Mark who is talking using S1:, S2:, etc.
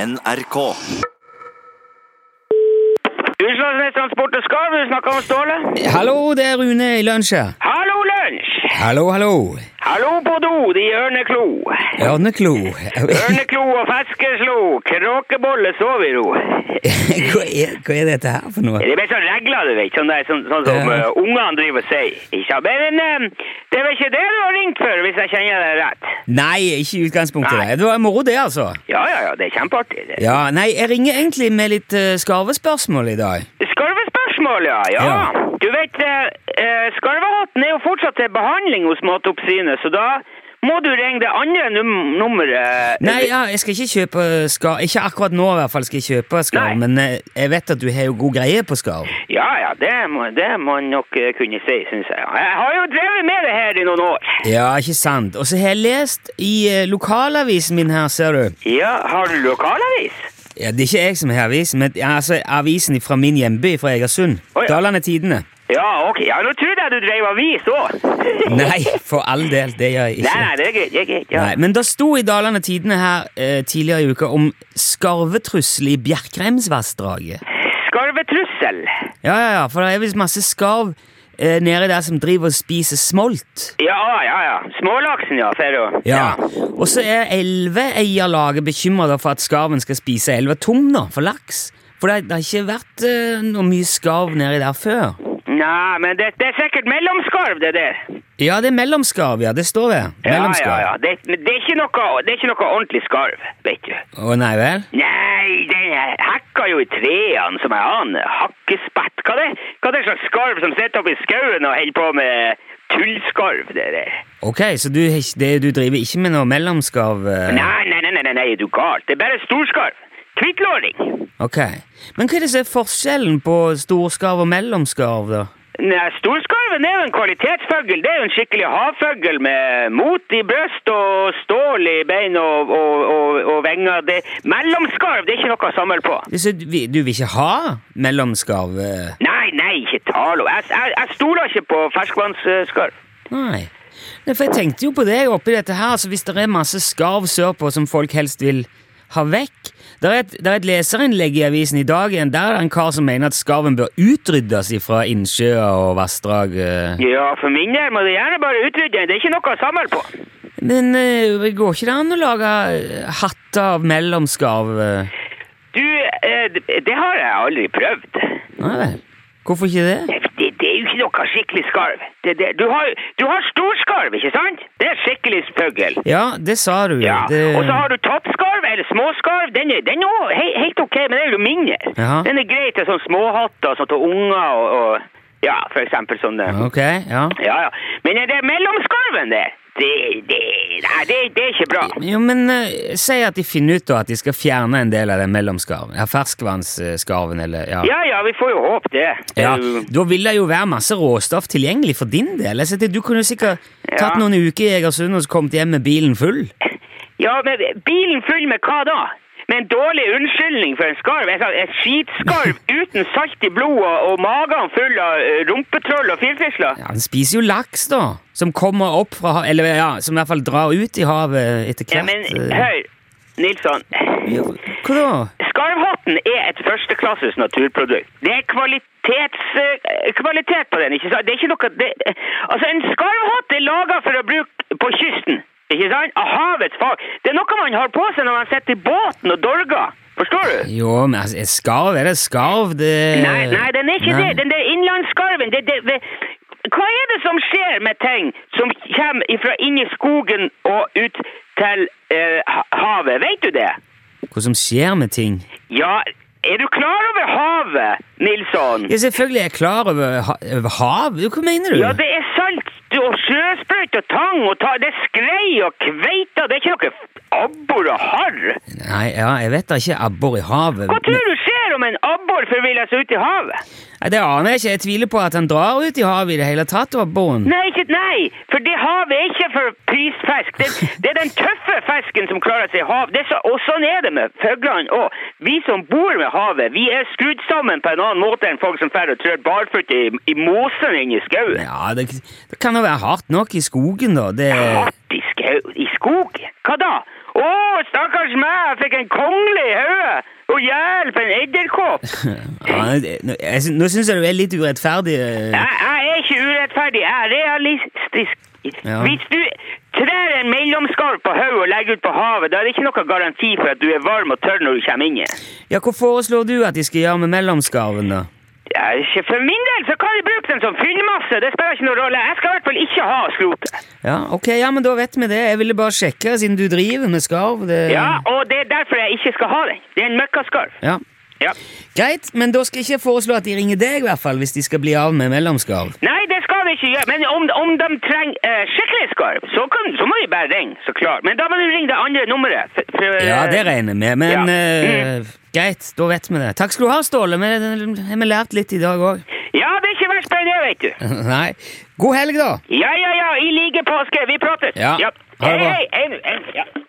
S1: NRK.
S2: Utslagsnes Transport og Skarv, du snakker om Ståle.
S3: Hallo, det er Rune i lunsj her.
S2: Hallo, lunsj!
S3: Hallo, hallo.
S2: Hallo på do, de ørneklo.
S3: Ørneklo.
S2: Ørneklo og feskeslo, kråkebolle sov i ro.
S3: hva, er, hva er dette her for noe?
S2: Det er bare sånne regler, du vet, sånn, der, sånn, sånn som
S3: Ja.
S2: eh, ungene driver og sier. Ikke sant? Men eh, det er vel ikke det du har ringt for, hvis jeg kjenner deg rett?
S3: Nei, ikke i utgangspunktet.
S2: Nei.
S3: Det Det var moro, det, altså.
S2: Ja, ja, ja, det er kjempeartig. det.
S3: Ja, Nei, jeg ringer egentlig med litt eh, skarvespørsmål i dag.
S2: Skarvespørsmål, ja. ja.
S3: Ja.
S2: Du vet, eh, eh, skarvehatten er jo fortsatt til behandling hos Matoppsynet, så da må du ringe det andre num nummeret.
S3: Nei, ja, jeg skal ikke kjøpe eh, skarv. Ikke akkurat nå, i hvert fall. skal jeg kjøpe skarv,
S2: Nei.
S3: Men eh, jeg vet at du har jo god greie på skarv.
S2: Ja, ja, det må, det må en nok eh, kunne si, syns jeg. Jeg har jo drevet med det her i noen år.
S3: Ja, ikke sant. Og så har jeg lest i eh, lokalavisen min her, ser du.
S2: Ja, Har du lokalavis?
S3: Ja, Det er ikke jeg som har avisen, men ja, altså, avisen fra min hjemby, fra Egersund.
S2: Å, ja.
S3: Dalane Tidende.
S2: Ja, ok. Ja, Nå trodde jeg du drev avis òg.
S3: Nei, for all del, det gjør jeg
S2: Nei,
S3: ikke.
S2: nei, det er greit. det er greit, ja.
S3: Nei, men det sto i Dalane Tidende her eh, tidligere i uka om skarvetrussel i Bjerkreimsvassdraget.
S2: Skarvetrussel.
S3: Ja, ja, ja, for det er visst masse skarv eh, nede der som driver og spiser smolt.
S2: Ja, ja, ja. Smålaksen, ja. For å
S3: Og så er elveeierlaget bekymra for at skarven skal spise elvetumler for laks. For det, det har ikke vært eh, noe mye skarv nedi der før.
S2: Nei, men det, det er sikkert mellomskarv, det der.
S3: Ja, det er mellomskarv, ja. Det står det.
S2: Ja, ja,
S3: Mellomskarv.
S2: ja. Det, men det, er ikke noe, det er ikke noe ordentlig skarv, vet du.
S3: Å nei vel?
S2: Nei, den er hekka jo i treene som jeg aner. Hakkespett. Hva det, hva det er slags skarv som sitter oppe i skauen og holder på med tullskarv? Det der?
S3: Ok, så du, har ikke- det, du driver ikke med noe mellomskarv? eh?
S2: Nei, nei, nei, nei, nei, nei, er du gal? Det er bare storskarv. Hvittlåring.
S3: Ok. Men hva er det som er forskjellen på storskarv og mellomskarv, da?
S2: Nei, Storskarven er jo en kvalitetsfugl. Det er jo en skikkelig havfugl med mot i brøst og stål i bein og, og, og, og vinger. Det, mellomskarv det er ikke noe å samle på.
S3: Det er så- vi- Du vil ikke ha mellomskarv? eh?
S2: Nei, nei, ikke tale om. Jeg, jeg, jeg stoler ikke på ferskvannsskarv.
S3: Nei. Nei, For jeg tenkte jo på det oppi dette her, altså hvis det er masse skarv sørpå som folk helst vil ha vekk Det er et, der er et leserinnlegg i avisen i dag igjen. Der er det en kar som mener at skarven bør utryddes fra innsjøer og vassdrag. eh.
S2: Ja, for min del må du gjerne bare utrydde den. Det er ikke noe å samle på.
S3: Men eh, går ikke det an å lage eh, hatter av mellomskarv? eh?
S2: Du, eh, d- det har jeg aldri prøvd.
S3: Nei vel. Hvorfor ikke det?
S2: Det, det, det er jo ikke noe skikkelig skarv. Det, det, du, har, du har storskarv, ikke sant? Det er skikkelig fugl.
S3: Ja, det sa du.
S2: Ja.
S3: Det...
S2: Og så har du toppskarv eller småskarv. Den er, den er jo he, helt ok, men den er jo mindre.
S3: Jaha.
S2: Den er grei til sånn småhatter og sånt til unger og, og ja, for eksempel sånn eh,
S3: Ok, ja.
S2: Ja, ja. Men det er mellomskarven, det. Det, det, nei, det, det er ikke bra.
S3: Jo, men eh, si at de finner ut da at de skal fjerne en del av den mellomskarven. Ja, ferskvannsskarven, eller ja.
S2: Ja, ja, vi får jo håpe det.
S3: Ja,
S2: Eh,
S3: Da vil det jo være masse råstoff tilgjengelig for din del. Jeg sitter- Du kunne jo sikkert
S2: Ja.
S3: tatt noen uker i Egersund og så kommet hjem med bilen full.
S2: Ja, men bilen full med hva da? Med en dårlig unnskyldning for en skarv? Jeg sa, En skitskarv uten salt i blodet og magen full av eh, rumpetroll og firfisler?
S3: Ja, Den spiser jo laks, da, som kommer opp fra havet Eller ja, som i hvert fall drar ut i havet etter
S2: Ja,
S3: hvert.
S2: men
S3: eh.
S2: hør, Nilsson.
S3: Ja, Hva da?
S2: Skarvhatten er et førsteklasses naturprodukt. Det er kvalitets, eh, kvalitet på den, ikke sant? Det er ikke noe... Det, altså, en skarvhatt er laget for å bruke på kysten, ikke sant? Av havets fag. Det er noe man har på seg når man sitter i båten og dorger. Forstår du?
S3: Jo, men altså, skarv er det skarv, det
S2: Nei, nei, den er ikke
S3: Eh, Nei.
S2: det. Den der innlandsskarven det, det, det. Hva er det som skjer med ting som kommer fra inni skogen og ut til eh, ha- havet? Vet du det?
S3: Hva som skjer med ting?
S2: Ja, er du klar over havet, Nilsson?
S3: Ja, selvfølgelig er jeg klar over, ha over hav. Jo, Hva mener du?
S2: Ja, det er salt og sjøsprøyt og tang og ta, det er skrei og kveita. Det er ikke noe abbor og harr.
S3: Nei, ja, jeg vet da ikke abbor i havet.
S2: Hva tror du skjer om en abbor forviller seg ut i havet?
S3: Men- Nei, det aner jeg ikke. Jeg tviler på at han drar ut i havet i det hele tatt, abboren.
S2: Nei, ikke, nei, for det havet er ikke for prisfisk. Det, det er den tøffe fisken som klarer seg i hav. Det er så, og sånn er det med fuglene òg. Vi som bor ved havet, vi er skrudd sammen på en annen måte enn folk som drar og trør barføtt i, i mosen inne i skauen.
S3: Ja, det, det kan jo være hardt nok i skogen, da. Det,
S2: Hatt i skau, i skog? Hva da? Å, stakkars meg, jeg fikk en kongle i hodet! Å hjelp, en edderkopp!
S3: Ja, det- nå- jeg sy- nå syns jeg du er litt urettferdig. eh.
S2: Jeg, jeg er ikke urettferdig, jeg er realistisk.
S3: Ja.
S2: Hvis du trer en mellomskarv på hodet og legger ut på havet, da er det ikke noen garanti for at du er varm og tørr når du kommer inn igjen.
S3: Ja, Hva foreslår du at de skal gjøre med mellomskarven, da?
S2: Ja, ikke- For min del så kan jeg bruke den som fyllmasse, det spiller ikke noen rolle. Jeg skal i hvert fall ikke ha skrotet.
S3: Ja, ok, ja, men da vet vi det. Jeg ville bare sjekke, siden du driver med skarv. Det...
S2: Ja, og det er derfor jeg ikke skal ha den. Det er en møkkaskarv.
S3: Ja.
S2: Ja.
S3: Greit, men da skal jeg ikke foreslå at de ringer deg, i hvert fall, hvis de skal bli av med mellomskarv.
S2: Nei, det skal vi ikke gjøre. Men om, om de trenger eh, skikkelig skarv, så, kan, så må vi bare ringe, så klart. Men da må du ringe det andre nummeret. f- for, eh,
S3: Ja, det regner jeg med, men
S2: Ja. Mm.
S3: eh, greit, da vet vi det. Takk skal du ha, Ståle. Vi vi har lært litt i dag òg.
S2: Ja, det er ikke verst bare det, vet du.
S3: Nei. God helg, da.
S2: Ja, ja, ja, i like påske. Vi prates.
S3: Ja. Ha det
S2: Hei,
S3: bra.
S2: hei. hei, hei. Ja.